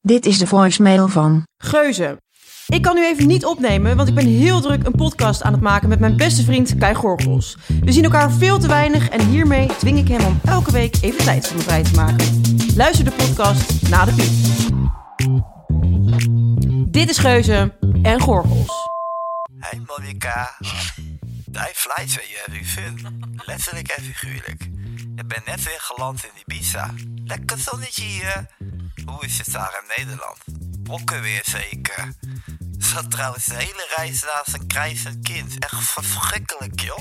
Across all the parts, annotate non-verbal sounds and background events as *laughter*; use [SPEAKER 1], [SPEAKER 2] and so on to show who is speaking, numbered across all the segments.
[SPEAKER 1] Dit is de voicemail van.
[SPEAKER 2] Geuze. Ik kan nu even niet opnemen, want ik ben heel druk een podcast aan het maken met mijn beste vriend Kai Gorgels. We zien elkaar veel te weinig en hiermee dwing ik hem om elke week even tijd voor me vrij te maken. Luister de podcast na de piep. Dit is Geuze en Gorgels.
[SPEAKER 3] Hey Monica, Dai flights ben je vriendin. Letterlijk en figuurlijk. Ik ben net weer geland in Ibiza. Lekker zonnetje hier. Hoe is het daar in Nederland? Bokken weer zeker. Zat trouwens de hele reis naast een krijzend kind. Echt verschrikkelijk joh.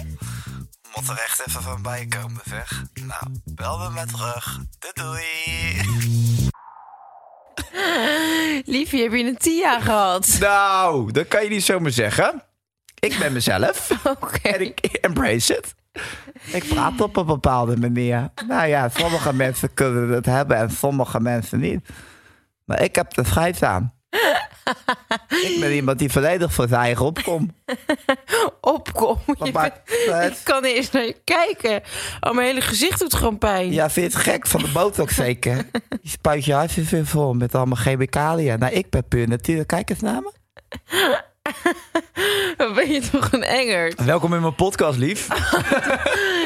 [SPEAKER 3] Moet er echt even van bij komen zeg. Nou, bel me maar terug. Doei doei.
[SPEAKER 2] Liefje, heb je een Tia gehad? *laughs*
[SPEAKER 4] Nou, dat kan je niet zomaar zeggen. Ik ben mezelf.
[SPEAKER 3] *laughs*
[SPEAKER 2] Oké.
[SPEAKER 4] En ik embrace het. Ik praat op een bepaalde manier. Nou ja, sommige mensen kunnen het hebben en sommige mensen niet. Maar ik heb de schijf aan. Ik ben iemand die volledig voor zijn eigen
[SPEAKER 2] *laughs*
[SPEAKER 4] opkomt.
[SPEAKER 2] Opkom. Je
[SPEAKER 4] maakt het
[SPEAKER 2] bent-
[SPEAKER 4] uit?
[SPEAKER 2] ik kan niet eens naar je kijken. Oh, mijn hele gezicht doet gewoon pijn.
[SPEAKER 4] *laughs* Ja, vind je het gek van de botox zeker? Je spuit je hartje weer vol met allemaal chemicaliën. Nou, ik ben puur natuurlijk. Kijk eens naar me.
[SPEAKER 2] Wat *laughs* ben je toch een engert?
[SPEAKER 4] Welkom in mijn podcast, lief.
[SPEAKER 2] *laughs*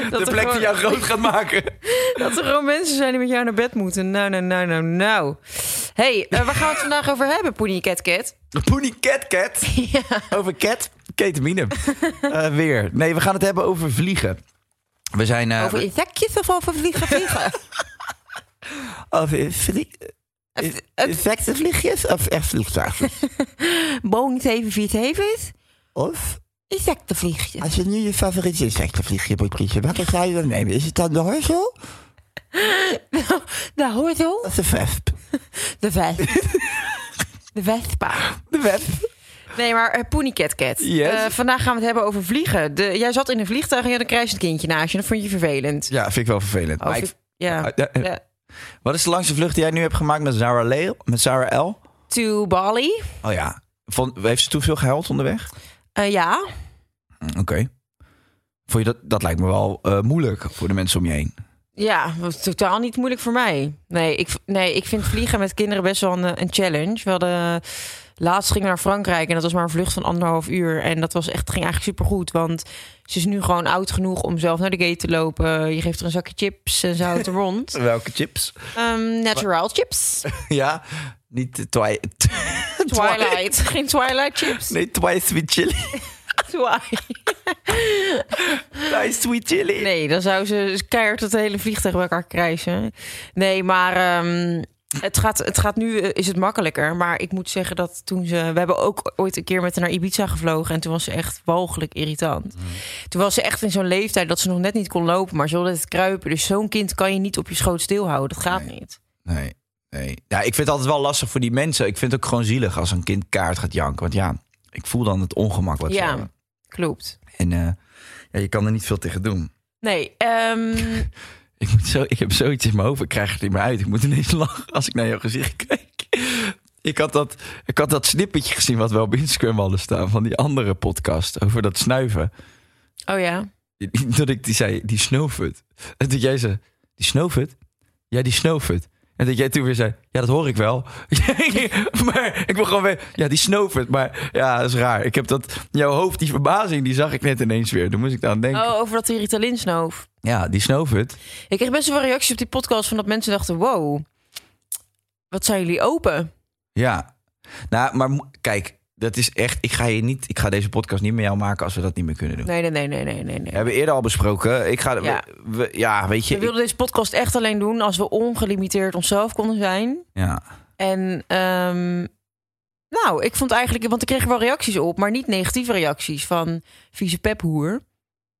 [SPEAKER 2] Dat er gewoon-
[SPEAKER 4] groot gaat maken.
[SPEAKER 2] Dat er gewoon mensen zijn die met jou naar bed moeten. Nou, nou, nou, nou, nou. hey, eh, waar gaan we *laughs* het vandaag over hebben, Poenie Cat Cat?
[SPEAKER 4] Poenie Cat
[SPEAKER 2] *laughs*
[SPEAKER 4] Cat. Over cat. Ketamine. Eh, weer. Nee, we gaan het hebben over vliegen. We zijn... eh,
[SPEAKER 2] Over
[SPEAKER 4] we-
[SPEAKER 2] insectjes of over *laughs* vliegen vliegen?
[SPEAKER 4] over vlie-
[SPEAKER 2] Het-
[SPEAKER 4] Insectenvliegjes of echt
[SPEAKER 2] *laughs*
[SPEAKER 4] vliegtuigen?
[SPEAKER 2] Boeing 747?
[SPEAKER 4] Of
[SPEAKER 2] Insectenvliegjes.
[SPEAKER 4] als je nu je favoriete insectenvliegje moet kiezen, welke zou je dan nemen? Is het dan de horzel
[SPEAKER 2] *laughs* Nou, hoort al.
[SPEAKER 4] of de vesp?
[SPEAKER 2] De vesp. *laughs* De vespa.
[SPEAKER 4] De wesp.
[SPEAKER 2] Nee, maar eh, Poenie Cat Cat.
[SPEAKER 4] Yes.
[SPEAKER 2] Eh, vandaag gaan we het hebben over vliegen. De, jij zat in een vliegtuig en je had een krijsend kindje naast je. Dat vond je vervelend.
[SPEAKER 4] Ja, vind ik wel vervelend.
[SPEAKER 2] Of
[SPEAKER 4] Maar
[SPEAKER 2] ik-
[SPEAKER 4] ik-
[SPEAKER 2] ja.
[SPEAKER 4] Ja, eh.
[SPEAKER 2] Ja.
[SPEAKER 4] Wat is de langste vlucht die jij nu hebt gemaakt met Zara, Leel, met Zara L?
[SPEAKER 2] To Bali.
[SPEAKER 4] Oh ja. Vond, heeft ze toen veel gehuild onderweg?
[SPEAKER 2] Eh, ja.
[SPEAKER 4] Mm, Oké. Vond je dat, dat lijkt me wel eh, moeilijk voor de mensen om je heen.
[SPEAKER 2] Ja, dat was totaal niet moeilijk voor mij. Nee, ik, nee, ik vind vliegen met kinderen best wel een, een challenge. We hadden, laatst gingen we naar Frankrijk en dat was maar een vlucht van anderhalf uur. En dat was echt, ging eigenlijk supergoed, want ze is nu gewoon oud genoeg om zelf naar de gate te lopen. Je geeft er een zakje chips en ze houdt er rond.
[SPEAKER 4] *laughs* Welke chips?
[SPEAKER 2] Ehm, natural chips,
[SPEAKER 4] ja, niet de twi *laughs*
[SPEAKER 2] Twilight. *laughs* Geen Twilight chips,
[SPEAKER 4] Nee, twice sweet chili.
[SPEAKER 2] Twilight.
[SPEAKER 4] Twice sweet chili.
[SPEAKER 2] Nee, dan zou ze keihard het hele vliegtuig bij elkaar krijgen. Nee, maar ehm, het, gaat, het gaat nu, eh, is het makkelijker. Maar ik moet zeggen dat toen ze... We hebben ook ooit een keer met haar naar Ibiza gevlogen. En toen was ze echt walgelijk irritant.
[SPEAKER 4] Hmm.
[SPEAKER 2] Toen was ze echt in zo'n leeftijd dat ze nog net niet kon lopen. Maar ze wilde het kruipen. Dus zo'n kind kan je niet op je schoot stilhouden. Dat gaat niet.
[SPEAKER 4] Nee, nee. Ja, ik vind het altijd wel lastig voor die mensen. Ik vind het ook gewoon zielig als een kind kaart gaat janken. Want ja, ik voel dan het ongemak wat ze
[SPEAKER 2] Ja.
[SPEAKER 4] hebben.
[SPEAKER 2] Klopt.
[SPEAKER 4] En eh, ja, je kan er niet veel tegen doen.
[SPEAKER 2] Nee, ehm,
[SPEAKER 4] Ik, moet zo, ik heb zoiets in mijn hoofd, ik krijg het niet meer uit. Ik moet ineens *laughs* lachen als ik naar jouw gezicht kijk. Ik had, dat, ik had dat snippetje gezien wat we op Instagram hadden staan... van die andere podcast over dat snuiven.
[SPEAKER 2] oh ja.
[SPEAKER 4] Dat ik die zei, die snuffert. En toen jij zei, die snuffert? Ja, die snuffert. En dat jij toen weer zei, ja, dat hoor ik wel. *laughs* maar ik wil gewoon weer, ja, die snovert. Maar ja, dat is raar. Ik heb dat, jouw hoofd, die verbazing, die zag ik net ineens weer. Toen moest ik aan denken.
[SPEAKER 2] Oh, over dat die Ritalin snoof.
[SPEAKER 4] Ja, die snovert.
[SPEAKER 2] Ik kreeg best wel veel reacties op die podcast van dat mensen dachten... wow, wat zijn jullie open?
[SPEAKER 4] Ja. Nou, maar mo- kijk, dat is echt, ik ga, je niet, ik ga deze podcast niet met jou maken als we dat niet meer kunnen doen.
[SPEAKER 2] Nee, nee, nee, nee, nee, nee. nee.
[SPEAKER 4] We hebben eerder al besproken. Ik ga, ja,
[SPEAKER 2] Ja.
[SPEAKER 4] ja weet je.
[SPEAKER 2] We
[SPEAKER 4] ik-
[SPEAKER 2] wilden deze podcast echt alleen doen als we ongelimiteerd onszelf konden zijn.
[SPEAKER 4] ja.
[SPEAKER 2] En ehm, nou, ik vond eigenlijk, want ik kreeg wel reacties op, maar niet negatieve reacties van vieze
[SPEAKER 4] *laughs*
[SPEAKER 2] pephoer.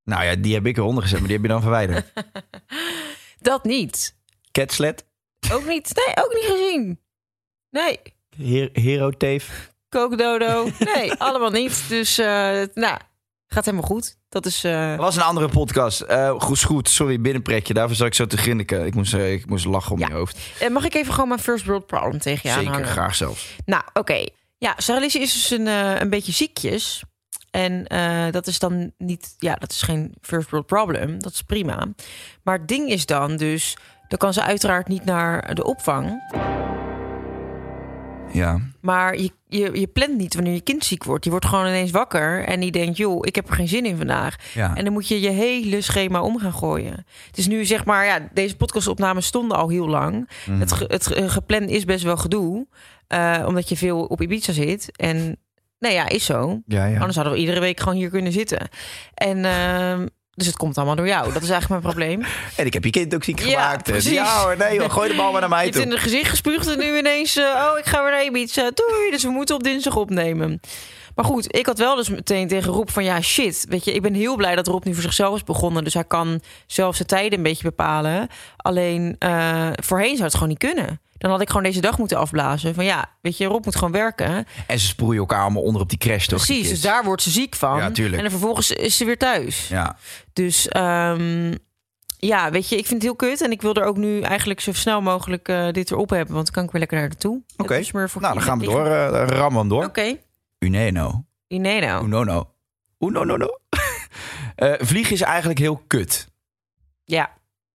[SPEAKER 4] Nou ja, die heb ik eronder gezet, maar die heb je dan
[SPEAKER 2] *laughs*
[SPEAKER 4] verwijderd.
[SPEAKER 2] Dat niet.
[SPEAKER 4] Catslet,
[SPEAKER 2] Ook niet. Nee, ook niet gezien. Nee.
[SPEAKER 5] Her Hero Teef.
[SPEAKER 2] Kookdodo.
[SPEAKER 4] *laughs*
[SPEAKER 2] Nee, allemaal niet. Dus, eh, nou, gaat helemaal goed. Dat is. eh,
[SPEAKER 4] Dat was een andere podcast. Eh goed, goed. Sorry, binnenpretje. Daarvoor zat ik zo te grinniken. Ik moest, eh, ik moest lachen om
[SPEAKER 2] Ja.
[SPEAKER 4] je hoofd.
[SPEAKER 2] eh, Mag ik even gewoon mijn first world problem tegen je
[SPEAKER 4] Zeker,
[SPEAKER 2] aanhangen?
[SPEAKER 4] graag zelfs.
[SPEAKER 2] Nou, oké. Ja, Saralisse is dus een, eh, een beetje ziekjes. En eh, dat is dan niet... Ja, dat is geen first world problem. Dat is prima. Maar het ding is dan dus... Dan kan ze uiteraard niet naar de opvang.
[SPEAKER 4] Ja.
[SPEAKER 2] Maar je, je, je plant niet wanneer je kind ziek wordt. Je wordt gewoon ineens wakker. En die denkt, joh, ik heb er geen zin in vandaag.
[SPEAKER 4] Ja.
[SPEAKER 2] En dan moet je je hele schema om gaan gooien. Het is nu zeg maar, ja, deze podcastopnames stonden al heel lang.
[SPEAKER 4] Mhm.
[SPEAKER 2] Het, ge- het ge- gepland is best wel gedoe. eh, omdat je veel op Ibiza zit. En nou ja, is zo.
[SPEAKER 4] Ja, ja.
[SPEAKER 2] Anders hadden we iedere week gewoon hier kunnen zitten. En ehm, dus het komt allemaal door jou. Dat is eigenlijk mijn probleem.
[SPEAKER 4] En ik heb je kind ook ziek
[SPEAKER 2] Ja,
[SPEAKER 4] gemaakt. En-
[SPEAKER 2] precies.
[SPEAKER 4] Ja hoor, nee joh, gooi de bal maar
[SPEAKER 2] *laughs*
[SPEAKER 4] naar
[SPEAKER 2] Je
[SPEAKER 4] mij
[SPEAKER 2] hebt in
[SPEAKER 4] toe.
[SPEAKER 2] het gezicht gespuugd en nu ineens... eh, oh, ik ga weer naar Ibiza. Doei. Dus we moeten op dinsdag opnemen. Maar goed, ik had wel dus meteen tegen Rob van... Ja, shit. Weet je, ik ben heel blij dat Rob nu voor zichzelf is begonnen. Dus hij kan zelf zijn tijden een beetje bepalen. Alleen, eh, voorheen zou het gewoon niet kunnen. Dan had ik gewoon deze dag moeten afblazen. Van ja, weet je, Rob moet gewoon werken.
[SPEAKER 4] En ze sproeien elkaar allemaal onder op die crash toch? die
[SPEAKER 2] Precies, dus
[SPEAKER 4] kids?
[SPEAKER 2] daar wordt ze ziek van.
[SPEAKER 4] Ja, tuurlijk.
[SPEAKER 2] En dan vervolgens is ze weer thuis.
[SPEAKER 4] Ja.
[SPEAKER 2] Dus ehm, ja, weet je, ik vind het heel kut. En ik wil er ook nu eigenlijk zo snel mogelijk eh, dit erop hebben. Want dan kan ik weer lekker naartoe.
[SPEAKER 4] Oké.
[SPEAKER 2] Het is meer voor
[SPEAKER 4] Nou, dan gaan we door.
[SPEAKER 2] kinderen.
[SPEAKER 4] eh rammen hem door.
[SPEAKER 2] Oké.
[SPEAKER 4] Uneno.
[SPEAKER 2] Nee, nou.
[SPEAKER 4] Uno no. Uno no no. *laughs* Eh, vliegen is eigenlijk heel kut.
[SPEAKER 2] Ja.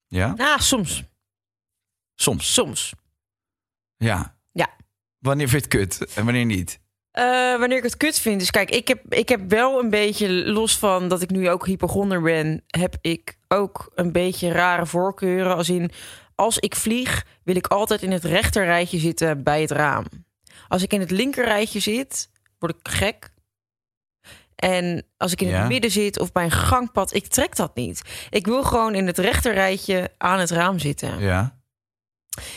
[SPEAKER 4] Ja?
[SPEAKER 2] Nou, soms.
[SPEAKER 4] Soms.
[SPEAKER 2] Soms.
[SPEAKER 4] Ja.
[SPEAKER 2] Ja.
[SPEAKER 4] Wanneer vind je het kut en wanneer niet?
[SPEAKER 2] Eh, wanneer ik het kut vind. Dus kijk, ik heb, ik heb wel een beetje los van dat ik nu ook hypochonder ben. Heb ik ook een beetje rare voorkeuren. Als in, als ik vlieg, wil ik altijd in het rechterrijtje zitten bij het raam. Als ik in het linkerrijtje zit, word ik gek. En als ik in
[SPEAKER 4] Ja.
[SPEAKER 2] het midden zit of bij een gangpad, ik trek dat niet. Ik wil gewoon in het rechterrijtje aan het raam zitten.
[SPEAKER 4] Ja.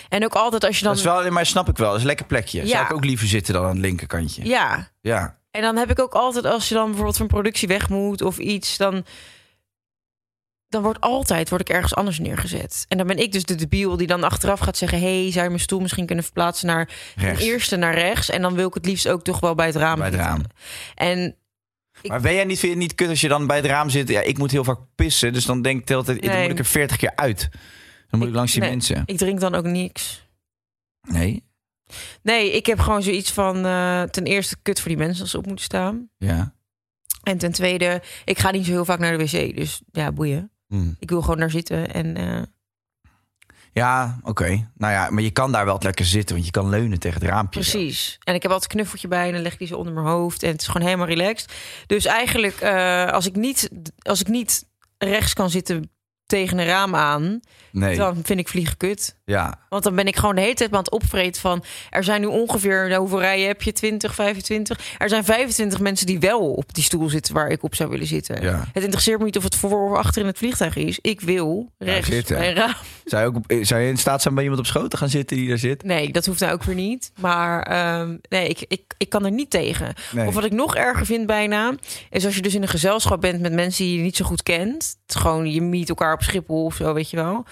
[SPEAKER 2] En ook altijd als je dan.
[SPEAKER 4] Dat is wel, maar snap ik wel. Dat is een lekker plekje. Zou
[SPEAKER 2] Ja.
[SPEAKER 4] ik ook liever zitten dan aan het linkerkantje.
[SPEAKER 2] Ja.
[SPEAKER 4] Ja.
[SPEAKER 2] En dan heb ik ook altijd, als je dan bijvoorbeeld van productie weg moet of iets, dan, dan wordt altijd word ik ergens anders neergezet. En dan ben ik dus de debiel die dan achteraf gaat zeggen: hey, zou je mijn stoel misschien kunnen verplaatsen naar
[SPEAKER 4] Rechts.
[SPEAKER 2] de eerste naar rechts? En dan wil ik het liefst ook toch wel bij het raam.
[SPEAKER 4] Bij het
[SPEAKER 2] zitten.
[SPEAKER 4] raam.
[SPEAKER 2] En Ik-
[SPEAKER 4] Maar ben jij niet, vind je het niet kut als je dan bij het raam zit? Ja, ik moet heel vaak pissen, dus dan denk ik de hele tijd, dan
[SPEAKER 2] Nee.
[SPEAKER 4] moet ik er 40 keer uit. Dan moet ik, langs die
[SPEAKER 2] nee,
[SPEAKER 4] mensen.
[SPEAKER 2] Ik drink dan ook niks.
[SPEAKER 4] Nee?
[SPEAKER 2] Nee, ik heb gewoon zoiets van: eh, ten eerste kut voor die mensen als ze op moeten staan.
[SPEAKER 4] Ja.
[SPEAKER 2] En ten tweede, ik ga niet zo heel vaak naar de wc. Dus ja, boeien.
[SPEAKER 4] Hm.
[SPEAKER 2] Ik wil gewoon daar zitten. En eh,
[SPEAKER 4] Ja, oké. Nou ja, maar je kan daar wel lekker zitten, want je kan leunen tegen het raampje. zo.
[SPEAKER 2] Precies. En ik heb altijd een knuffeltje bij en dan leg ik die zo onder mijn hoofd. En het is gewoon helemaal relaxed. Dus eigenlijk, eh, als, ik niet, als ik niet rechts kan zitten tegen een raam aan,
[SPEAKER 4] Nee.
[SPEAKER 2] dan vind ik vliegen kut.
[SPEAKER 4] Ja.
[SPEAKER 2] Want dan ben ik gewoon de hele tijd aan het opvreten van... er zijn nu ongeveer, nou, hoeveel rijen heb je? 20, 25? Er zijn 25 mensen die wel op die stoel zitten waar ik op zou willen zitten.
[SPEAKER 4] Ja.
[SPEAKER 2] Het interesseert me niet of het voor of achter in het vliegtuig is. Ik wil rechts
[SPEAKER 4] zitten.
[SPEAKER 2] bij een raam.
[SPEAKER 4] Zou je, ook, zou je in staat zijn bij iemand op schoot te gaan zitten die daar zit?
[SPEAKER 2] Nee, dat hoeft nou ook weer niet. Maar ehm, nee, ik, ik, ik kan er niet tegen.
[SPEAKER 4] Nee.
[SPEAKER 2] Of wat ik nog erger vind bijna, is als je dus in een gezelschap bent met mensen die je niet zo goed kent. Het is gewoon, je meet elkaar op Schiphol of zo, weet je wel.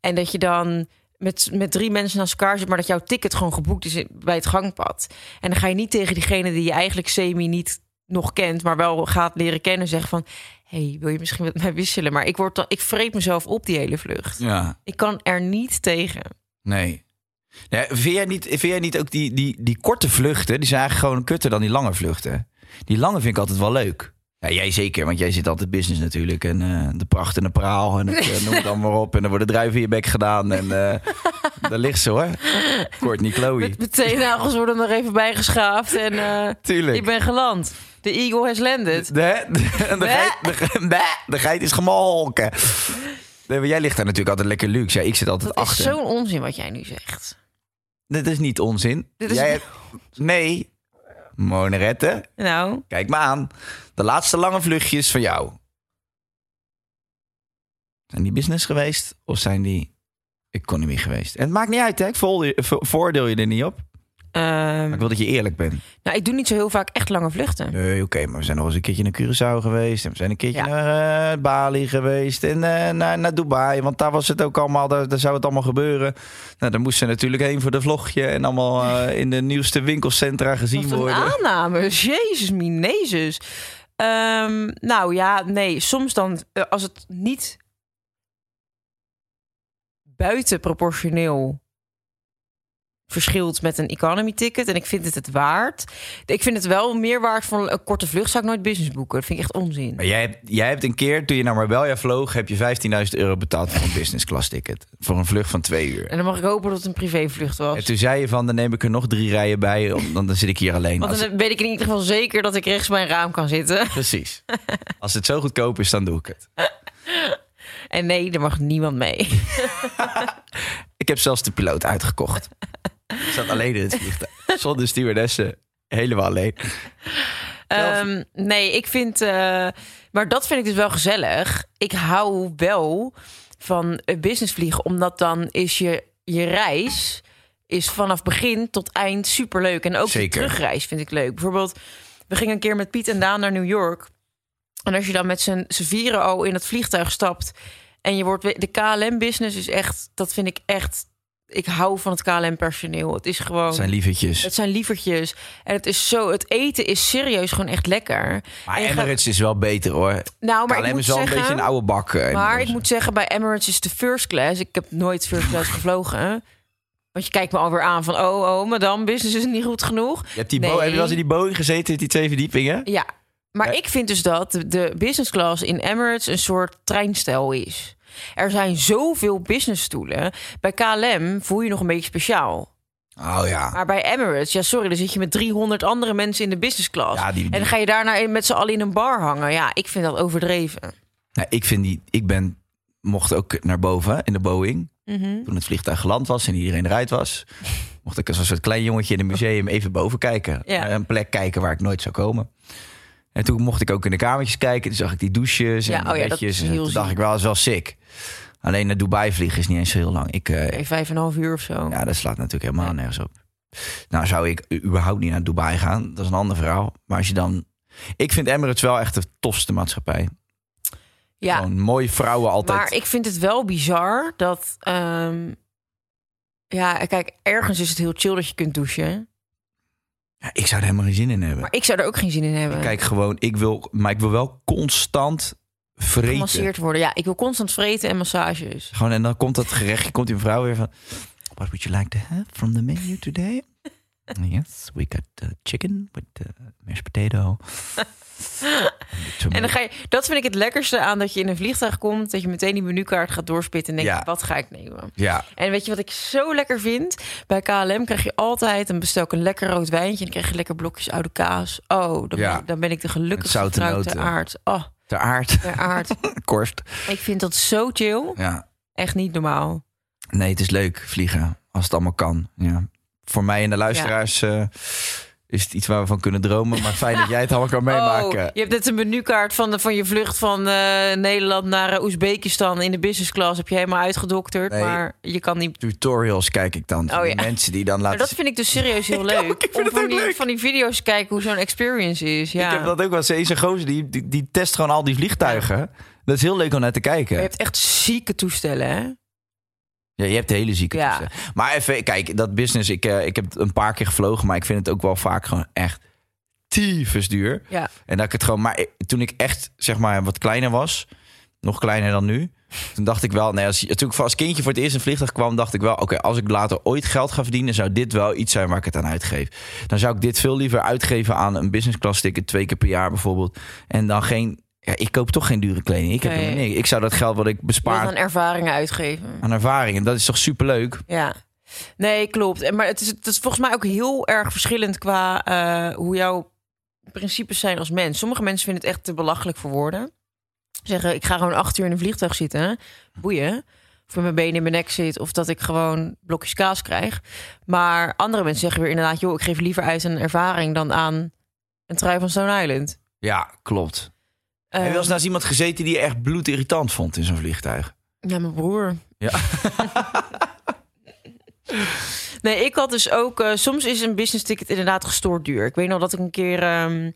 [SPEAKER 2] En dat je dan met, met drie mensen naast elkaar zit, maar dat jouw ticket gewoon geboekt is in- bij het gangpad. En dan ga je niet tegen diegene die je eigenlijk semi niet nog kent, maar wel gaat leren kennen, zeggen van... hey, wil je misschien met mij wisselen? Maar ik, word dan, ik vreet mezelf op die hele vlucht.
[SPEAKER 4] Ja.
[SPEAKER 2] Ik kan er niet tegen.
[SPEAKER 4] Nee. nee vind, jij niet, vind jij niet ook die, die, die korte vluchten, die zijn eigenlijk gewoon kutter dan die lange vluchten? Die lange vind ik altijd wel leuk. Ja, jij zeker, want jij zit altijd business natuurlijk. En eh, de pracht en de praal en het, eh, noem het allemaal op. En er worden druiven in je bek gedaan. En eh, daar ligt ze hoor. Kort niet Chloe.
[SPEAKER 2] Met, met twee nagels worden er even bijgeschaafd. En eh,
[SPEAKER 4] Tuurlijk.
[SPEAKER 2] ik ben geland. De eagle has landed.
[SPEAKER 4] De, de, de,
[SPEAKER 2] Bäh.
[SPEAKER 4] geit, de, ge- bäh, de geit is gemolken. Nee, maar jij ligt daar natuurlijk altijd lekker luxe. Ja, ik zit altijd
[SPEAKER 2] Dat
[SPEAKER 4] achter.
[SPEAKER 2] is zo'n onzin wat jij nu zegt.
[SPEAKER 4] Dit is niet onzin.
[SPEAKER 2] Dit is
[SPEAKER 4] Jij
[SPEAKER 2] niet-
[SPEAKER 4] hebt- Nee, Monerette,
[SPEAKER 2] Nou,
[SPEAKER 4] kijk me aan. De laatste lange vluchtjes van jou. Zijn die business geweest of zijn die economie geweest? En het maakt niet uit, hè? Ik voordeel, voordeel je er niet op. Maar
[SPEAKER 2] ehm,
[SPEAKER 4] ik wil dat je eerlijk bent.
[SPEAKER 2] nou, ik doe niet zo heel vaak echt lange vluchten.
[SPEAKER 4] Nee, oké, maar we zijn nog eens een keertje naar Curaçao geweest. En we zijn een keertje
[SPEAKER 2] Ja.
[SPEAKER 4] naar eh, Bali geweest. En eh, naar, naar Dubai. Want daar was het ook allemaal, daar, daar zou het allemaal gebeuren. Nou, daar moest ze natuurlijk heen voor de vlogje. En allemaal eh, in de nieuwste winkelcentra gezien
[SPEAKER 2] Wat een
[SPEAKER 4] worden.
[SPEAKER 2] aannames. Jezus, minezus. Ehm, nou ja, nee. Soms dan, eh, als het niet buitenproportioneel verschilt met een economy ticket. En ik vind het het waard. Ik vind het wel meer waard van een korte vlucht. Zou ik nooit business boeken. Dat vind ik echt onzin.
[SPEAKER 4] Maar jij hebt, jij hebt een keer, toen je naar Marbella vloog... heb je 15.000 euro betaald voor een business class ticket. Voor een vlucht van twee uur.
[SPEAKER 2] En dan mag ik hopen dat het een privévlucht
[SPEAKER 4] En
[SPEAKER 2] was.
[SPEAKER 4] toen zei je van, dan neem ik er nog drie rijen bij. om- Dan, dan zit ik hier alleen.
[SPEAKER 2] Want
[SPEAKER 4] Als-
[SPEAKER 2] dan weet ik in ieder geval zeker dat ik rechts bij een raam kan zitten. *laughs*
[SPEAKER 4] Precies. Als het zo goedkoop is, dan doe ik het.
[SPEAKER 2] En nee, er mag niemand mee.
[SPEAKER 4] Ik heb zelfs de piloot uitgekocht. Ik zat alleen in het vliegtuig. Zonder stewardessen. Helemaal alleen.
[SPEAKER 2] Ehm, nee, ik vind. eh, maar dat vind ik dus wel gezellig. Ik hou wel van eh, businessvliegen, omdat dan is je, je reis is vanaf begin tot eind superleuk. En ook
[SPEAKER 4] Zeker.
[SPEAKER 2] de terugreis vind ik leuk. Bijvoorbeeld, we gingen een keer met Piet en Daan naar New York. En als je dan met z'n z'n vieren al in het vliegtuig stapt en je wordt. we- De KLM-business is echt. Dat vind ik echt. Ik hou van het KLM-personeel. Het is gewoon.
[SPEAKER 4] Dat zijn lievertjes.
[SPEAKER 2] Het zijn lievertjes. En het is zo, het eten is serieus gewoon echt lekker.
[SPEAKER 4] Maar
[SPEAKER 2] En je gaat-
[SPEAKER 4] Emirates is wel beter hoor.
[SPEAKER 2] nou, maar ik
[SPEAKER 4] KLM
[SPEAKER 2] moet
[SPEAKER 4] is wel
[SPEAKER 2] zeggen,
[SPEAKER 4] een beetje een oude bak. eh,
[SPEAKER 2] Maar ik
[SPEAKER 4] inmiddels.
[SPEAKER 2] moet zeggen, bij Emirates is de first class. Ik heb nooit first class gevlogen. Want je kijkt me alweer aan van, oh, oh, madame, business is niet goed genoeg.
[SPEAKER 4] Je hebt die Bo- heb je wel eens in die Boeing gezeten, die twee verdiepingen?
[SPEAKER 2] Ja, maar
[SPEAKER 4] Ja.
[SPEAKER 2] ik vind dus dat de, de business class in Emirates een soort treinstijl is. Er zijn zoveel businessstoelen. Bij KLM voel je nog een beetje speciaal.
[SPEAKER 4] Oh ja.
[SPEAKER 2] Maar bij Emirates, ja sorry, dan zit je met 300 andere mensen in de business class.
[SPEAKER 4] Ja, die-
[SPEAKER 2] En dan ga je daarna in- met z'n allen in een bar hangen. Ja, ik vind dat overdreven.
[SPEAKER 4] Nou, ik vind die... Ik ben... Mocht ook naar boven in de Boeing.
[SPEAKER 2] Mhm.
[SPEAKER 4] Toen het vliegtuig geland was en iedereen eruit
[SPEAKER 2] *laughs*
[SPEAKER 4] was. Mocht ik als een soort klein jongetje in een museum even boven kijken.
[SPEAKER 2] Ja.
[SPEAKER 4] Naar Een plek kijken waar ik nooit zou komen. En toen mocht ik ook in de kamertjes kijken. Toen zag ik die douches en
[SPEAKER 2] Ja,
[SPEAKER 4] die
[SPEAKER 2] oh ja, dat
[SPEAKER 4] bedjes.
[SPEAKER 2] is
[SPEAKER 4] En
[SPEAKER 2] heel
[SPEAKER 4] toen dacht
[SPEAKER 2] ziek.
[SPEAKER 4] ik wel, dat is wel sick. Alleen naar Dubai vliegen is niet eens zo heel lang. Ik, eh,
[SPEAKER 2] Nee, vijf en een half uur of zo.
[SPEAKER 4] ja, dat slaat natuurlijk helemaal nergens op. Nou, zou ik u- überhaupt niet naar Dubai gaan. Dat is een ander verhaal. Maar als je dan... Ik vind Emirates wel echt de tofste maatschappij.
[SPEAKER 2] Ja,
[SPEAKER 4] Gewoon mooie vrouwen altijd.
[SPEAKER 2] maar ik vind het wel bizar dat... ehm, ja, kijk, ergens is het heel chill dat je kunt douchen.
[SPEAKER 4] Ja, ik zou er helemaal geen zin in hebben.
[SPEAKER 2] Maar ik eh, zou er ook geen zin in hebben.
[SPEAKER 4] Ik kijk gewoon, ik wil, maar ik wil wel constant vreten.
[SPEAKER 2] Gemasseerd worden. Ja, ik wil constant vreten en massages.
[SPEAKER 4] Gewoon, en dan komt dat gerechtje, komt die vrouw weer van... What would you like to have from the menu today? *laughs* yes, we got eh, chicken with eh, mashed potato.
[SPEAKER 2] *laughs* En dan ga je, dat vind ik het lekkerste aan dat je in een vliegtuig komt. Dat je meteen die menukaart gaat doorspitten en denkt,
[SPEAKER 4] Ja.
[SPEAKER 2] wat ga ik nemen?
[SPEAKER 4] Ja,
[SPEAKER 2] En weet je wat ik zo lekker vind? Bij KLM krijg je altijd een bestel ik een lekker rood wijntje en dan krijg je lekker blokjes oude kaas. Oh, dan,
[SPEAKER 4] Ja.
[SPEAKER 2] ben, ik, dan ben ik de gelukkigste
[SPEAKER 4] Met zoute
[SPEAKER 2] vrouw ter
[SPEAKER 4] noten.
[SPEAKER 2] aard. Oh,
[SPEAKER 4] ter aard, *laughs*
[SPEAKER 2] ter aard.
[SPEAKER 4] korst.
[SPEAKER 2] ik vind dat zo chill.
[SPEAKER 4] Ja.
[SPEAKER 2] Echt niet normaal.
[SPEAKER 4] Nee, het is leuk vliegen, als het allemaal kan. Ja. Voor mij en de luisteraars eh, is het iets waar we van kunnen dromen. Maar fijn dat jij het allemaal kan meemaken.
[SPEAKER 2] *laughs* Oh, je hebt net een menukaart van, de, van je vlucht van eh, Nederland naar eh, Oezbekistan in de business class. Heb je helemaal uitgedokterd,
[SPEAKER 4] Nee.
[SPEAKER 2] maar je kan niet...
[SPEAKER 4] Tutorials kijk ik dan.
[SPEAKER 2] Oh
[SPEAKER 4] Oh,
[SPEAKER 2] ja.
[SPEAKER 4] Mensen die dan laten
[SPEAKER 2] Maar dat vind ik dus serieus heel
[SPEAKER 4] *laughs*
[SPEAKER 2] leuk.
[SPEAKER 4] ik vind
[SPEAKER 2] Om
[SPEAKER 4] het
[SPEAKER 2] van
[SPEAKER 4] ook
[SPEAKER 2] die,
[SPEAKER 4] leuk.
[SPEAKER 2] van die video's te kijken hoe zo'n experience is. Ja.
[SPEAKER 4] Ik heb dat ook wel eens. Eens een gozer die, die, die test gewoon al die vliegtuigen. Dat is heel leuk om naar te kijken.
[SPEAKER 2] Maar je hebt echt zieke toestellen, hè?
[SPEAKER 4] Ja, je hebt de hele zieke
[SPEAKER 2] Ja.
[SPEAKER 4] toestanden. Maar even, kijk, dat business. Ik, eh, ik heb het een paar keer gevlogen, maar ik vind het ook wel vaak gewoon echt tyfus duur.
[SPEAKER 2] Ja.
[SPEAKER 4] En dat ik het gewoon... Maar ik- toen ik echt, zeg maar, wat kleiner was... Nog kleiner dan nu. Toen dacht ik wel, nee, als, toen ik als kindje voor het eerst in een vliegtuig kwam, dacht ik wel, oké, als ik later ooit geld ga verdienen, zou dit wel iets zijn waar ik het aan uitgeef. Dan zou ik dit veel liever uitgeven aan een business class ticket twee keer per jaar bijvoorbeeld. En dan geen, ja, ik koop toch geen dure kleding. Ik, heb
[SPEAKER 2] Nee.
[SPEAKER 4] helemaal niks. ik zou dat geld wat ik
[SPEAKER 2] Wil
[SPEAKER 4] bespaar
[SPEAKER 2] dan ervaringen uitgeven.
[SPEAKER 4] aan ervaring, en dat is toch superleuk?
[SPEAKER 2] Ja. Nee, klopt. En Maar het is, het is volgens mij ook heel erg verschillend qua eh, hoe jouw principes zijn als mens. Sommige mensen vinden het echt te belachelijk voor woorden. Zeggen, ik ga gewoon acht uur in een vliegtuig zitten. Boeien. Of met mijn benen in mijn nek zit. Of dat ik gewoon blokjes kaas krijg. Maar andere mensen zeggen weer inderdaad... joh, ik geef liever uit aan een ervaring dan aan een trui van Stone Island.
[SPEAKER 4] Ja, klopt. Heb je wel eens
[SPEAKER 2] Ehm,
[SPEAKER 4] naast iemand gezeten die je echt bloedirritant vond in zo'n vliegtuig?
[SPEAKER 2] Ja, mijn broer.
[SPEAKER 4] Ja.
[SPEAKER 2] *laughs* nee, ik had dus ook... eh, soms is een business ticket inderdaad gestoord duur. Ik weet nog dat ik een keer ehm,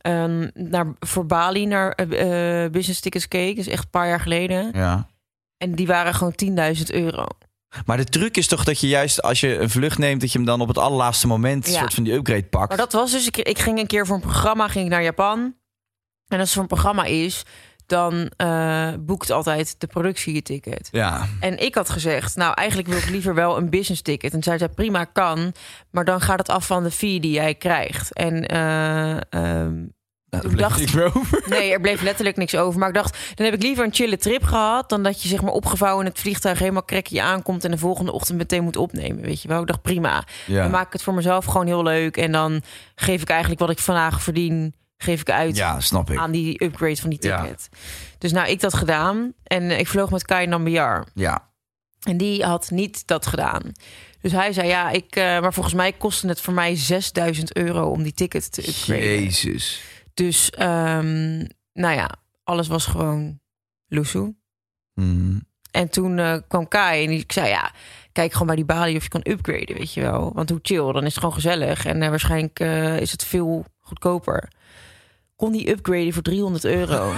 [SPEAKER 2] ehm, naar, voor Bali naar eh, eh, business tickets keek. Dat is echt een paar jaar geleden.
[SPEAKER 4] Ja.
[SPEAKER 2] En die waren gewoon 10.000 euro.
[SPEAKER 4] Maar de truc is toch dat je juist als je een vlucht neemt, dat je hem dan op het allerlaatste moment een
[SPEAKER 2] Ja.
[SPEAKER 4] soort van die upgrade pakt.
[SPEAKER 2] Maar dat was dus... Ik, ik ging een keer voor een programma ging ik naar Japan. En als er een programma is... dan eh, boekt altijd de productie je ticket.
[SPEAKER 4] Ja,
[SPEAKER 2] En ik had gezegd, nou eigenlijk wil ik liever wel een business ticket. En zij zei, prima kan, maar dan gaat het af van de fee die jij krijgt. En eh, ehm, *laughs*
[SPEAKER 4] nou,
[SPEAKER 2] Ik
[SPEAKER 4] daar dacht
[SPEAKER 2] dacht-
[SPEAKER 4] ik meer
[SPEAKER 2] *laughs*
[SPEAKER 4] over.
[SPEAKER 2] nee, er bleef letterlijk niks over. Maar ik dacht, dan heb ik liever een chille trip gehad... dan dat je zeg maar opgevouwen in het vliegtuig helemaal krekkie aankomt... en de volgende ochtend meteen moet opnemen, weet je wel. Ik dacht, prima,
[SPEAKER 4] Ja.
[SPEAKER 2] dan maak ik het voor mezelf gewoon heel leuk... en dan geef ik eigenlijk wat ik vandaag verdien, geef ik uit
[SPEAKER 4] Ja, snap ik.
[SPEAKER 2] aan die upgrade van die
[SPEAKER 4] Ja.
[SPEAKER 2] ticket. Dus nou, ik dat gedaan en eh, ik vloog met Kai Nambiar...
[SPEAKER 4] Ja.
[SPEAKER 2] En die had niet dat gedaan. Dus hij zei, ja, ik, eh, maar volgens mij kostte het voor mij 6000 euro om die ticket te upgraden.
[SPEAKER 4] Jezus.
[SPEAKER 2] Dus, ehm, nou ja, alles was gewoon loesoe.
[SPEAKER 4] Hmm.
[SPEAKER 2] En toen eh, kwam Kai en die- ik zei, ja, kijk gewoon bij die balie of je kan upgraden, weet je wel. Want hoe chill, dan is het gewoon gezellig. En eh, waarschijnlijk eh, is het veel goedkoper. Kon die upgraden voor 300 euro.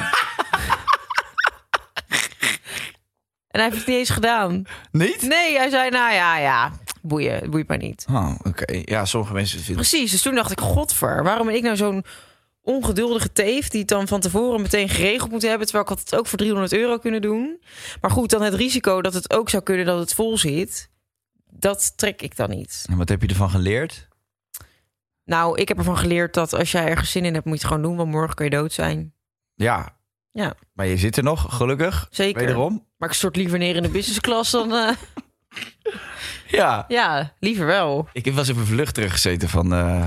[SPEAKER 2] en hij heeft het niet eens gedaan.
[SPEAKER 4] Niet?
[SPEAKER 2] Nee, hij zei, nou ja, ja, boeien, het boeit maar niet.
[SPEAKER 4] Oh, oké. Ja, sommige mensen vinden
[SPEAKER 2] Precies, dus toen dacht ik, godver, waarom ben ik nou zo'n ongeduldige teef... die het dan van tevoren meteen geregeld moet hebben... terwijl ik had het ook voor 300 euro kunnen doen. Maar goed, dan het risico dat het ook zou kunnen dat het vol zit... dat trek ik dan niet.
[SPEAKER 4] En wat heb je ervan geleerd?
[SPEAKER 2] Nou, ik heb ervan geleerd dat als jij ergens zin in hebt... moet je het gewoon doen, want morgen kun je dood zijn.
[SPEAKER 4] Ja.
[SPEAKER 2] Ja.
[SPEAKER 4] Maar je zit er nog, gelukkig.
[SPEAKER 2] Zeker.
[SPEAKER 4] Wederom.
[SPEAKER 2] Maar ik stort liever neer in de business class dan... eh, *laughs*
[SPEAKER 4] Ja.
[SPEAKER 2] ja, liever wel.
[SPEAKER 4] Ik heb wel eens op een vlucht teruggezeten van, eh,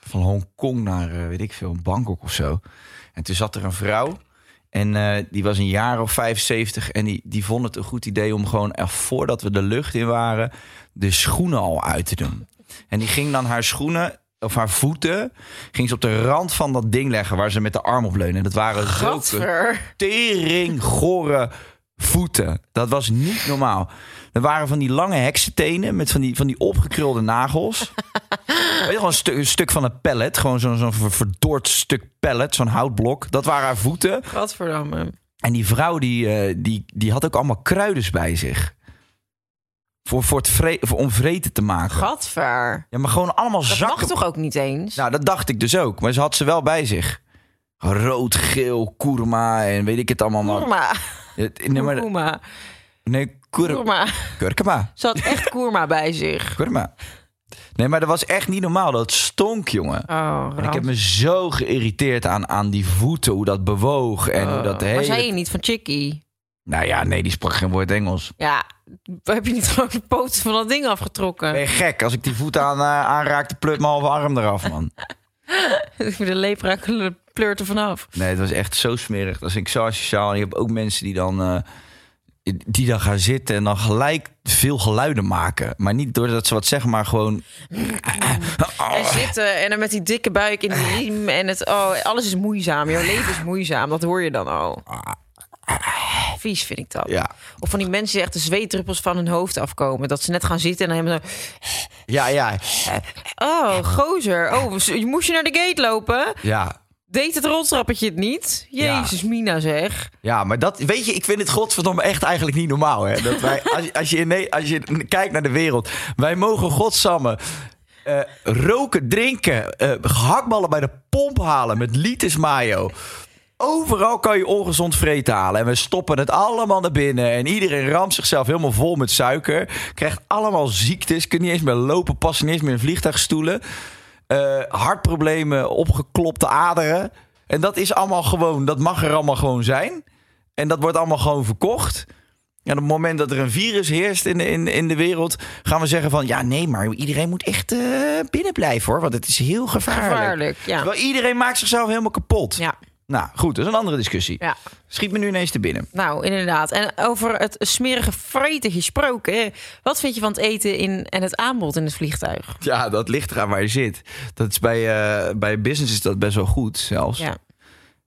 [SPEAKER 4] van Hongkong naar, eh, weet ik veel, Bangkok of zo. En toen zat er een vrouw. En eh, die was een jaar of 75. En die, die vond het een goed idee om gewoon echt voordat we de lucht in waren, de schoenen al uit te doen. En die ging dan haar schoenen, of haar voeten, ging ze op de rand van dat ding leggen waar ze met de arm op leunen. En dat waren zulke
[SPEAKER 2] Gadver.
[SPEAKER 4] teringgore voeten. Dat was niet normaal. Er waren van die lange heksentenen met van die, van die opgekrulde nagels. Weet je, gewoon een, stu- een stuk van een pallet. Gewoon zo'n zo'n ver- verdord stuk pallet, zo'n houtblok. Dat waren haar voeten.
[SPEAKER 2] Gadverdamme.
[SPEAKER 4] En die vrouw die, eh, die, die had ook allemaal kruiders bij zich. Voor, voor het vre- voor- om vreten te maken.
[SPEAKER 2] Gadver.
[SPEAKER 4] Ja, maar gewoon allemaal
[SPEAKER 2] Dat
[SPEAKER 4] zakken.
[SPEAKER 2] mag toch ook niet eens?
[SPEAKER 4] Nou, dat dacht ik dus ook. Maar ze had ze wel bij zich. Rood, geel, kurma en weet ik het allemaal. maar-
[SPEAKER 2] Kurma.
[SPEAKER 4] Het- Nee, maar,
[SPEAKER 2] Kurma.
[SPEAKER 4] nee kur,
[SPEAKER 2] Kurma.
[SPEAKER 4] kurkuma.
[SPEAKER 2] Ze had echt kurma bij zich.
[SPEAKER 4] Kurma. Nee, maar dat was echt niet normaal. Dat stonk, jongen.
[SPEAKER 2] Oh,
[SPEAKER 4] En ik heb me zo geïrriteerd aan, aan die voeten, hoe dat bewoog en hoe oh, dat hele...
[SPEAKER 2] Oh. Maar zei je niet van Chicky?
[SPEAKER 4] Nou ja, nee, die sprak geen woord Engels.
[SPEAKER 2] Ja, heb je niet *laughs* gewoon de poten van dat ding afgetrokken?
[SPEAKER 4] Ben je gek? Als ik die voeten aan, eh, aanraak, dan pleurt mijn halve arm eraf, man.
[SPEAKER 2] Ik vind *laughs* de lepra pleurt er vanaf.
[SPEAKER 4] Nee, het was echt zo smerig. Dat vind ik zo asociaal. En je hebt ook mensen die dan, eh, die dan gaan zitten en dan gelijk veel geluiden maken. Maar niet doordat ze wat zeggen, maar gewoon...
[SPEAKER 2] En
[SPEAKER 4] Oh.
[SPEAKER 2] zitten en dan met die dikke buik in
[SPEAKER 4] *laughs*
[SPEAKER 2] die riem en het, oh, alles is moeizaam. Jouw leven is moeizaam, dat hoor je dan al. Vies vind ik dat.
[SPEAKER 4] Ah. Ja,
[SPEAKER 2] Of van die mensen die echt de zweetdruppels van hun hoofd afkomen. Dat ze net gaan zitten en dan helemaal zo...
[SPEAKER 4] ja, ja.
[SPEAKER 2] Oh, gozer. Oh, je moest je naar de gate lopen?
[SPEAKER 4] ja.
[SPEAKER 2] Deed het rottrappetje het niet?
[SPEAKER 4] Ja.
[SPEAKER 2] Jezus, Mina zeg.
[SPEAKER 4] Ja, maar dat, weet je, ik vind het godverdomme echt eigenlijk niet normaal. Hè? Dat wij, als, als, je in, Ne- als je kijkt naar de wereld, wij mogen godsamme eh, roken, drinken, eh hakballen bij de pomp halen met liters mayo. Overal kan je ongezond vreten halen. En we stoppen het allemaal naar binnen. En iedereen ramt zichzelf helemaal vol met suiker. Krijgt allemaal ziektes. Kunt niet eens meer lopen. Past niet eens meer in vliegtuigstoelen. Eh, hartproblemen, opgeklopte aderen. En dat is allemaal gewoon, dat mag er allemaal gewoon zijn. En dat wordt allemaal gewoon verkocht. En op het moment dat er een virus heerst in de, in, in de wereld, gaan we zeggen van ja, nee, maar iedereen moet echt eh, binnen blijven hoor. Want het is heel gevaarlijk.
[SPEAKER 2] Gevaarlijk, ja.
[SPEAKER 4] Terwijl iedereen maakt zichzelf helemaal kapot.
[SPEAKER 2] Ja.
[SPEAKER 4] Nou goed, dat is een andere discussie.
[SPEAKER 2] Ja.
[SPEAKER 4] Schiet me nu ineens te binnen.
[SPEAKER 2] Nou, inderdaad. En over het smerige vreten gesproken. hè. Wat vind je van het eten in, en het aanbod in het vliegtuig?
[SPEAKER 4] Ja, dat ligt eraan waar je zit. Dat is bij, eh, bij business is dat best wel goed zelfs.
[SPEAKER 2] Ja.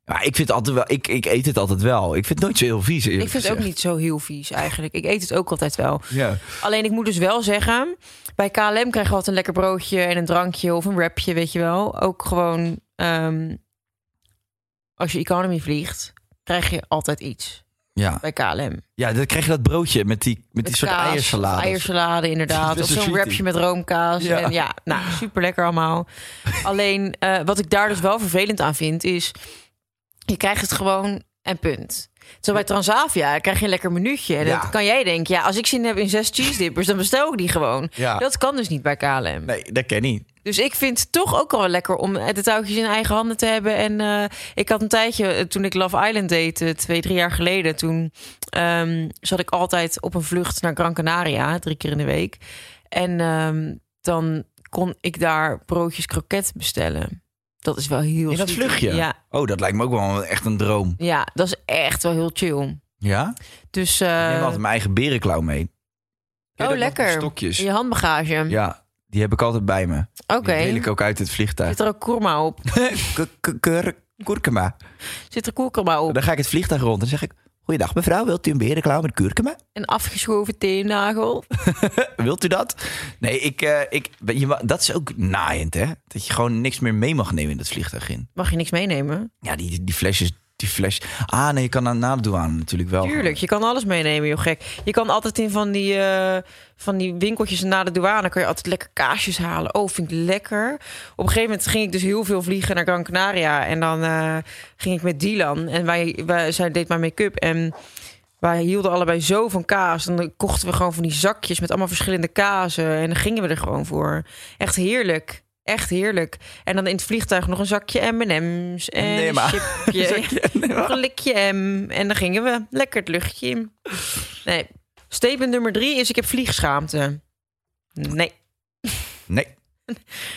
[SPEAKER 4] Maar ik, vind het altijd wel, ik, ik eet het altijd wel. Ik vind het nooit zo heel vies.
[SPEAKER 2] Ik vind het ook niet zo heel vies eigenlijk. Ik eet het ook altijd wel.
[SPEAKER 4] Ja.
[SPEAKER 2] Alleen ik moet dus wel zeggen, bij KLM krijg je altijd een lekker broodje en een drankje of een wrapje, weet je wel. Ook gewoon, ehm, als je economy vliegt, krijg je altijd iets
[SPEAKER 4] Ja.
[SPEAKER 2] bij KLM.
[SPEAKER 4] ja, dan krijg je dat broodje met die, met die
[SPEAKER 2] Met
[SPEAKER 4] soort
[SPEAKER 2] kaas,
[SPEAKER 4] eiersalade.
[SPEAKER 2] Eiersalade,
[SPEAKER 4] *laughs*
[SPEAKER 2] inderdaad.
[SPEAKER 4] Dat
[SPEAKER 2] Of
[SPEAKER 4] is
[SPEAKER 2] zo'n
[SPEAKER 4] een
[SPEAKER 2] wrapje met roomkaas.
[SPEAKER 4] Ja.
[SPEAKER 2] En ja, nou, super lekker allemaal. Alleen, eh, wat ik daar dus wel vervelend aan vind, is... Je krijgt het gewoon en punt. Terwijl bij Transavia krijg je een lekker minuutje. En
[SPEAKER 4] Ja.
[SPEAKER 2] dan kan jij denken, ja, als ik zin heb in zes cheese dippers... dan bestel ik die gewoon.
[SPEAKER 4] Ja.
[SPEAKER 2] Dat kan dus niet bij KLM.
[SPEAKER 4] Nee, dat ken ik niet.
[SPEAKER 2] Dus ik vind het toch ook al wel lekker om eh, de touwtjes in eigen handen te hebben. En eh, ik had een tijdje, eh, toen ik Love Island deed, eh, twee, drie jaar geleden, toen ehm, zat ik altijd op een vlucht naar Gran Canaria, drie keer in de week. En ehm, dan kon ik daar broodjes kroket bestellen. Dat is wel heel
[SPEAKER 4] In dat
[SPEAKER 2] chic.
[SPEAKER 4] vluchtje?
[SPEAKER 2] Ja,
[SPEAKER 4] Oh, dat lijkt me ook wel echt een droom.
[SPEAKER 2] ja, dat is echt wel heel chill.
[SPEAKER 4] Ja?
[SPEAKER 2] Dus eh,
[SPEAKER 4] ik neem altijd mijn eigen berenklauw mee. Ken je dat
[SPEAKER 2] oh,
[SPEAKER 4] nog?
[SPEAKER 2] lekker.
[SPEAKER 4] Stokjes.
[SPEAKER 2] je
[SPEAKER 4] Ja.
[SPEAKER 2] handbagage.
[SPEAKER 4] die heb ik altijd bij me.
[SPEAKER 2] Oké.
[SPEAKER 4] Die deel ik ook uit het vliegtuig.
[SPEAKER 2] Zit er ook kurma op?
[SPEAKER 4] K- k- kur- Kurkuma.
[SPEAKER 2] Zit er kurma op?
[SPEAKER 4] Dan ga ik het vliegtuig rond en zeg ik... Goeiedag mevrouw, wilt u een berenklauw met kurkuma?
[SPEAKER 2] Een afgeschoven teennagel?
[SPEAKER 4] Wilt u dat? Nee, ik, eh, ik, je, ma- dat is ook naaiend, hè? Dat je gewoon niks meer mee mag nemen in dat vliegtuig in.
[SPEAKER 2] Mag je niks meenemen?
[SPEAKER 4] Ja, die, die flesjes, die fles. Ah, nee, je kan na, na de douane natuurlijk wel.
[SPEAKER 2] Tuurlijk, je kan alles meenemen, joh gek. Je kan altijd in van die, eh, van die winkeltjes na de douane... kan je altijd lekker kaasjes halen. Oh, vind ik lekker. Op een gegeven moment ging ik dus heel veel vliegen naar Gran Canaria. En dan eh, ging ik met Dylan. En wij, wij, zij deed mijn make-up. En wij hielden allebei zo van kaas. En dan kochten we gewoon van die zakjes met allemaal verschillende kazen. En dan gingen we er gewoon voor. Echt heerlijk. Echt heerlijk. En dan in het vliegtuig nog een zakje M&M's. En
[SPEAKER 4] Nee,
[SPEAKER 2] een
[SPEAKER 4] maar. *laughs*
[SPEAKER 2] chipje. *laughs* Nog een likje M. En dan gingen we lekker het luchtje in. Nee. Statement nummer drie is: ik heb vliegschaamte. Nee. *laughs*
[SPEAKER 4] Nee.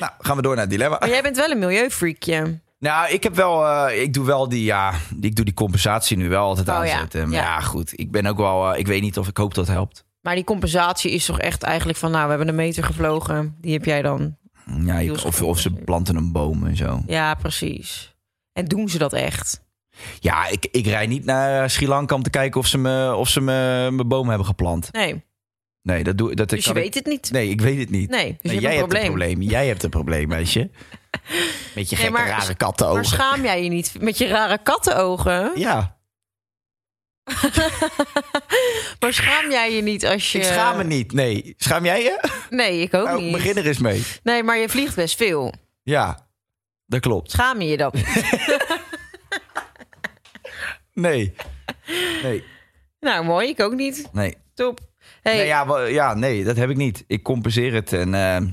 [SPEAKER 4] Nou, gaan we door naar het dilemma.
[SPEAKER 2] Maar Oh, jij bent wel een milieufreakje.
[SPEAKER 4] Nou, ik heb wel, eh, ik doe wel die, ja, ik doe die compensatie nu wel altijd
[SPEAKER 2] Oh, ja.
[SPEAKER 4] aanzetten. Maar
[SPEAKER 2] Ja.
[SPEAKER 4] ja. goed, ik ben ook wel, eh, ik weet niet of ik hoop dat het helpt.
[SPEAKER 2] Maar die compensatie is toch echt eigenlijk van: nou, we hebben een meter gevlogen. Die heb jij dan.
[SPEAKER 4] Ja, je- of, of ze planten een boom en zo.
[SPEAKER 2] Ja, precies. En doen ze dat echt?
[SPEAKER 4] Ja, ik, ik rij niet naar eh, Sri Lanka om te kijken of ze me, of ze me, mijn boom hebben geplant.
[SPEAKER 2] Nee.
[SPEAKER 4] Nee, dat doe dat
[SPEAKER 2] Dus je
[SPEAKER 4] kan ik-
[SPEAKER 2] weet het niet.
[SPEAKER 4] Nee, ik weet het niet.
[SPEAKER 2] Nee, dus je hebt
[SPEAKER 4] jij
[SPEAKER 2] een
[SPEAKER 4] hebt een
[SPEAKER 2] probleem.
[SPEAKER 4] probleem. Jij hebt een probleem,
[SPEAKER 2] *laughs*
[SPEAKER 4] meisje. Met je
[SPEAKER 2] Nee,
[SPEAKER 4] gekke,
[SPEAKER 2] maar-
[SPEAKER 4] rare kattenogen.
[SPEAKER 2] Maar schaam jij je niet met je rare kattenogen?
[SPEAKER 4] Ja,
[SPEAKER 2] Maar schaam jij je niet als je.
[SPEAKER 4] ik schaam me niet. Nee, schaam jij je?
[SPEAKER 2] Nee, ik ook
[SPEAKER 4] Nou,
[SPEAKER 2] niet.
[SPEAKER 4] begin er eens mee.
[SPEAKER 2] Nee, maar je vliegt best veel.
[SPEAKER 4] Ja, dat klopt.
[SPEAKER 2] Schaam je je
[SPEAKER 4] *laughs*
[SPEAKER 2] dat? niet? *laughs*
[SPEAKER 4] Nee. Nee,
[SPEAKER 2] nou, mooi. Ik ook niet.
[SPEAKER 4] nee.
[SPEAKER 2] Top. Hey,
[SPEAKER 4] Nee, Nou ja, wel- ja, nee, dat heb ik niet. Ik compenseer het. En, ehm,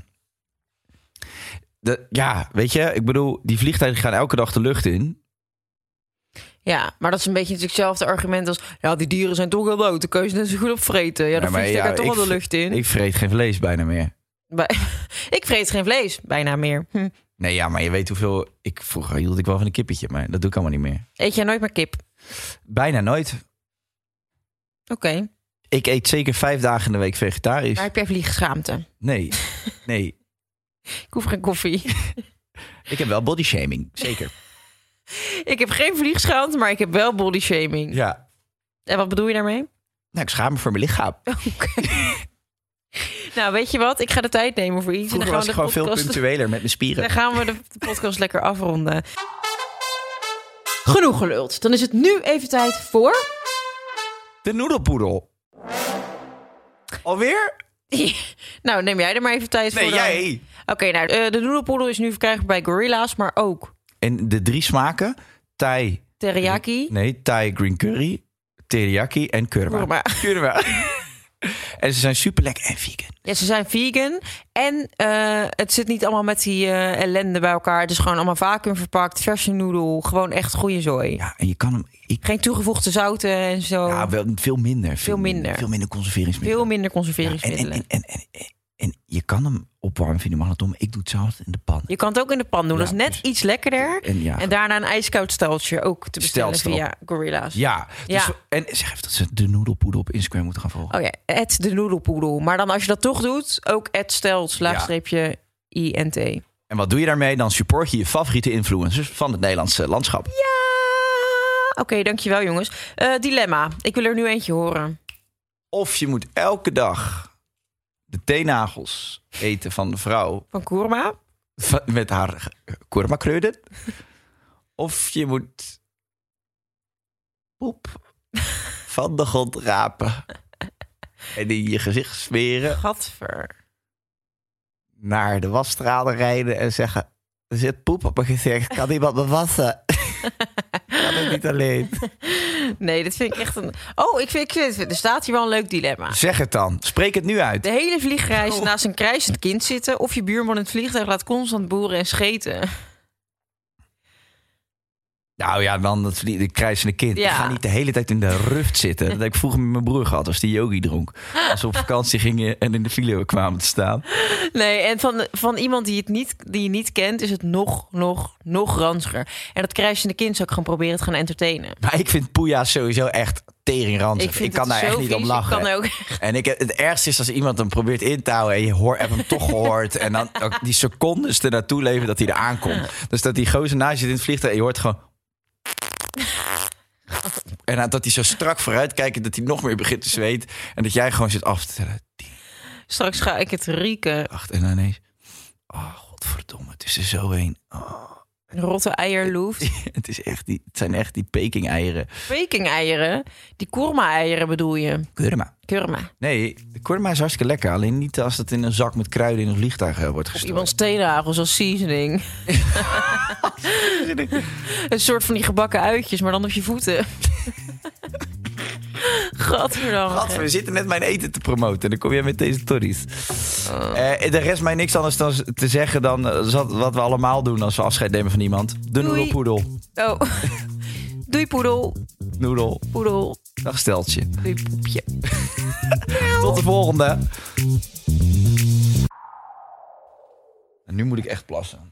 [SPEAKER 4] dat- ja, weet je, ik bedoel, die vliegtuigen gaan elke dag de lucht in.
[SPEAKER 2] Ja, maar dat is een beetje natuurlijk hetzelfde argument als... ja, die dieren zijn toch wel dood, dan kun je ze net zo goed op vreten. Ja, dan
[SPEAKER 4] maar
[SPEAKER 2] vliegt ik
[SPEAKER 4] ja,
[SPEAKER 2] er toch wel de
[SPEAKER 4] vre-
[SPEAKER 2] lucht in.
[SPEAKER 4] Ik vreet geen vlees bijna meer.
[SPEAKER 2] Bij- *laughs* ik vreet geen vlees, bijna meer. Hm.
[SPEAKER 4] Nee, ja, maar je weet hoeveel... Ik, vroeger hield ik wel van een kippetje, maar dat doe ik allemaal niet meer.
[SPEAKER 2] Eet jij nooit meer kip?
[SPEAKER 4] Bijna nooit.
[SPEAKER 2] Oké,
[SPEAKER 4] Ik eet zeker vijf dagen in de week vegetarisch.
[SPEAKER 2] maar heb jij vliegschaamte? *laughs*
[SPEAKER 4] Nee, nee.
[SPEAKER 2] Ik hoef geen koffie. *laughs*
[SPEAKER 4] Ik heb wel body shaming, zeker.
[SPEAKER 2] ik heb geen vliegschaamte, maar ik heb wel body shaming.
[SPEAKER 4] Ja.
[SPEAKER 2] En wat bedoel je
[SPEAKER 4] *laughs*
[SPEAKER 2] daarmee?
[SPEAKER 4] Nou, ik schaam me voor mijn lichaam.
[SPEAKER 2] Oké. nou, weet je wat? Ik ga de tijd nemen voor iets.
[SPEAKER 4] Vroeger
[SPEAKER 2] en
[SPEAKER 4] was
[SPEAKER 2] dan
[SPEAKER 4] ik gewoon
[SPEAKER 2] gaan we
[SPEAKER 4] veel
[SPEAKER 2] de podcast...
[SPEAKER 4] punctueler met mijn spieren.
[SPEAKER 2] *laughs* Dan gaan we de de podcast lekker afronden. Genoeg geluld. Dan is het nu even tijd voor...
[SPEAKER 4] De noedelpoedel. Alweer?
[SPEAKER 2] *laughs* nou, neem jij er maar even tijd
[SPEAKER 4] Nee,
[SPEAKER 2] voor. dan.
[SPEAKER 4] jij.
[SPEAKER 2] Oké, nou, eh, de noedelpoedel is nu verkrijgbaar bij Gorilla's, maar ook
[SPEAKER 4] En de drie smaken: Thai,
[SPEAKER 2] Teriyaki.
[SPEAKER 4] Nee, Thai green curry, teriyaki en kurma.
[SPEAKER 2] Kurma.
[SPEAKER 4] *laughs* Kurma. en ze zijn super lekker en vegan.
[SPEAKER 2] Ja, ze zijn vegan. En eh, het zit niet allemaal met die eh, ellende bij elkaar. Het is gewoon allemaal vacuüm verpakt, verse noedel. Gewoon echt goede zooi.
[SPEAKER 4] Ja, en je kan hem... Ik,
[SPEAKER 2] Geen toegevoegde zouten en zo.
[SPEAKER 4] ja, wel, veel minder. Veel,
[SPEAKER 2] minder.
[SPEAKER 4] Veel minder conserveringsmiddelen.
[SPEAKER 2] Veel minder
[SPEAKER 4] Ja, en, en,
[SPEAKER 2] conserveringsmiddelen.
[SPEAKER 4] en, en, en, en je kan hem opwarmen, vind je mag het om. Ik doe het zelf in de pan.
[SPEAKER 2] Je kan het ook in de pan doen.
[SPEAKER 4] Ja,
[SPEAKER 2] dat is net
[SPEAKER 4] precies.
[SPEAKER 2] iets lekkerder.
[SPEAKER 4] En ja.
[SPEAKER 2] En daarna een ijskoud steltje ook te bestellen
[SPEAKER 4] Steltsel.
[SPEAKER 2] via Gorilla's.
[SPEAKER 4] Ja. Dus
[SPEAKER 2] Ja.
[SPEAKER 4] we- En zeg even dat ze de noedelpoeder op Instagram moeten gaan volgen.
[SPEAKER 2] Oh ja, het de noedelpoedel. Maar dan als je dat toch doet, ook het stelt slaagstreepje INT.
[SPEAKER 4] En wat doe je daarmee? Dan support je je favoriete influencers van het Nederlandse landschap.
[SPEAKER 2] Oké, dankjewel jongens. Eh, dilemma. Ik wil er nu eentje horen.
[SPEAKER 4] Of je moet elke dag de teennagels eten van de vrouw
[SPEAKER 2] Van Koerma.
[SPEAKER 4] va- met haar kurma kruiden. Of je moet poep van de grond rapen. En in je gezicht smeren,
[SPEAKER 2] Gadver.
[SPEAKER 4] naar de wasstralen rijden en zeggen... Er zit poep op mijn gezicht, kan iemand me wassen? *laughs* kan ik niet alleen.
[SPEAKER 2] Nee, dat vind ik echt een... Oh, ik vind, ik vind, er staat hier wel een leuk dilemma.
[SPEAKER 4] Zeg het dan, spreek het nu uit.
[SPEAKER 2] De hele vliegreis naast een krijsend kind zitten... of je buurman in het vliegtuig laat constant boeren en scheten.
[SPEAKER 4] Nou ja, dan dat vlie- de krijsende kind.
[SPEAKER 2] Ja.
[SPEAKER 4] Ik ga niet de hele tijd in de ruft zitten. Dat heb ik vroeger met mijn broer gehad als die yogi dronk. Als we op vakantie gingen en in de file kwamen te staan.
[SPEAKER 2] Nee, en van, van iemand die, het niet, die je niet kent... is het nog, nog, nog ranziger. En dat krijsende kind zou ik gewoon proberen te gaan entertainen.
[SPEAKER 4] Maar ik vind poeja sowieso echt teringrand. Ik,
[SPEAKER 2] vind
[SPEAKER 4] kan
[SPEAKER 2] het
[SPEAKER 4] daar
[SPEAKER 2] zo
[SPEAKER 4] echt niet
[SPEAKER 2] vies.
[SPEAKER 4] om
[SPEAKER 2] Ik kan
[SPEAKER 4] lachen.
[SPEAKER 2] ook
[SPEAKER 4] En ik, het ergste is als iemand hem probeert in te houden... en je hoort, hebt hem
[SPEAKER 2] *laughs*
[SPEAKER 4] toch gehoord. En dan ook die secondes ernaartoe leven dat hij er aankomt. Dus dat die gozer naast je zit in het vliegtuig en je hoort
[SPEAKER 2] *laughs*
[SPEAKER 4] gewoon... En dat hij zo strak vooruit kijkt dat hij nog meer begint te zweten. En dat jij gewoon zit af te tellen.
[SPEAKER 2] Straks ga ik het rieken.
[SPEAKER 4] Wacht, en dan ineens... Oh, godverdomme, het is er zo heen.
[SPEAKER 2] Een Rotte eierloef.
[SPEAKER 4] *laughs* Het, is echt die, het zijn echt die peking-eieren.
[SPEAKER 2] Peking-eieren. Die kurma-eieren bedoel je.
[SPEAKER 4] Kurma.
[SPEAKER 2] Kurma.
[SPEAKER 4] Nee, de kurma is hartstikke lekker. Alleen niet als het in een zak met kruiden in een vliegtuig eh, wordt
[SPEAKER 2] Of
[SPEAKER 4] gestopt.
[SPEAKER 2] iemands teennagels als seasoning. een soort van die gebakken uitjes, maar dan op je voeten. Gadverdamme.
[SPEAKER 4] Gadver, we zitten net mijn eten te promoten. En dan kom jij met deze tories. Eh de rest mij niks anders dan s- te zeggen dan eh, zat- wat we allemaal doen als we afscheid nemen van iemand. De
[SPEAKER 2] Doei.
[SPEAKER 4] noedelpoedel.
[SPEAKER 2] Oh. Doei poedel.
[SPEAKER 4] Noedel.
[SPEAKER 2] Poedel.
[SPEAKER 4] Dag steltje.
[SPEAKER 2] Doei poepje.
[SPEAKER 4] Tot de volgende. En nu moet ik echt plassen.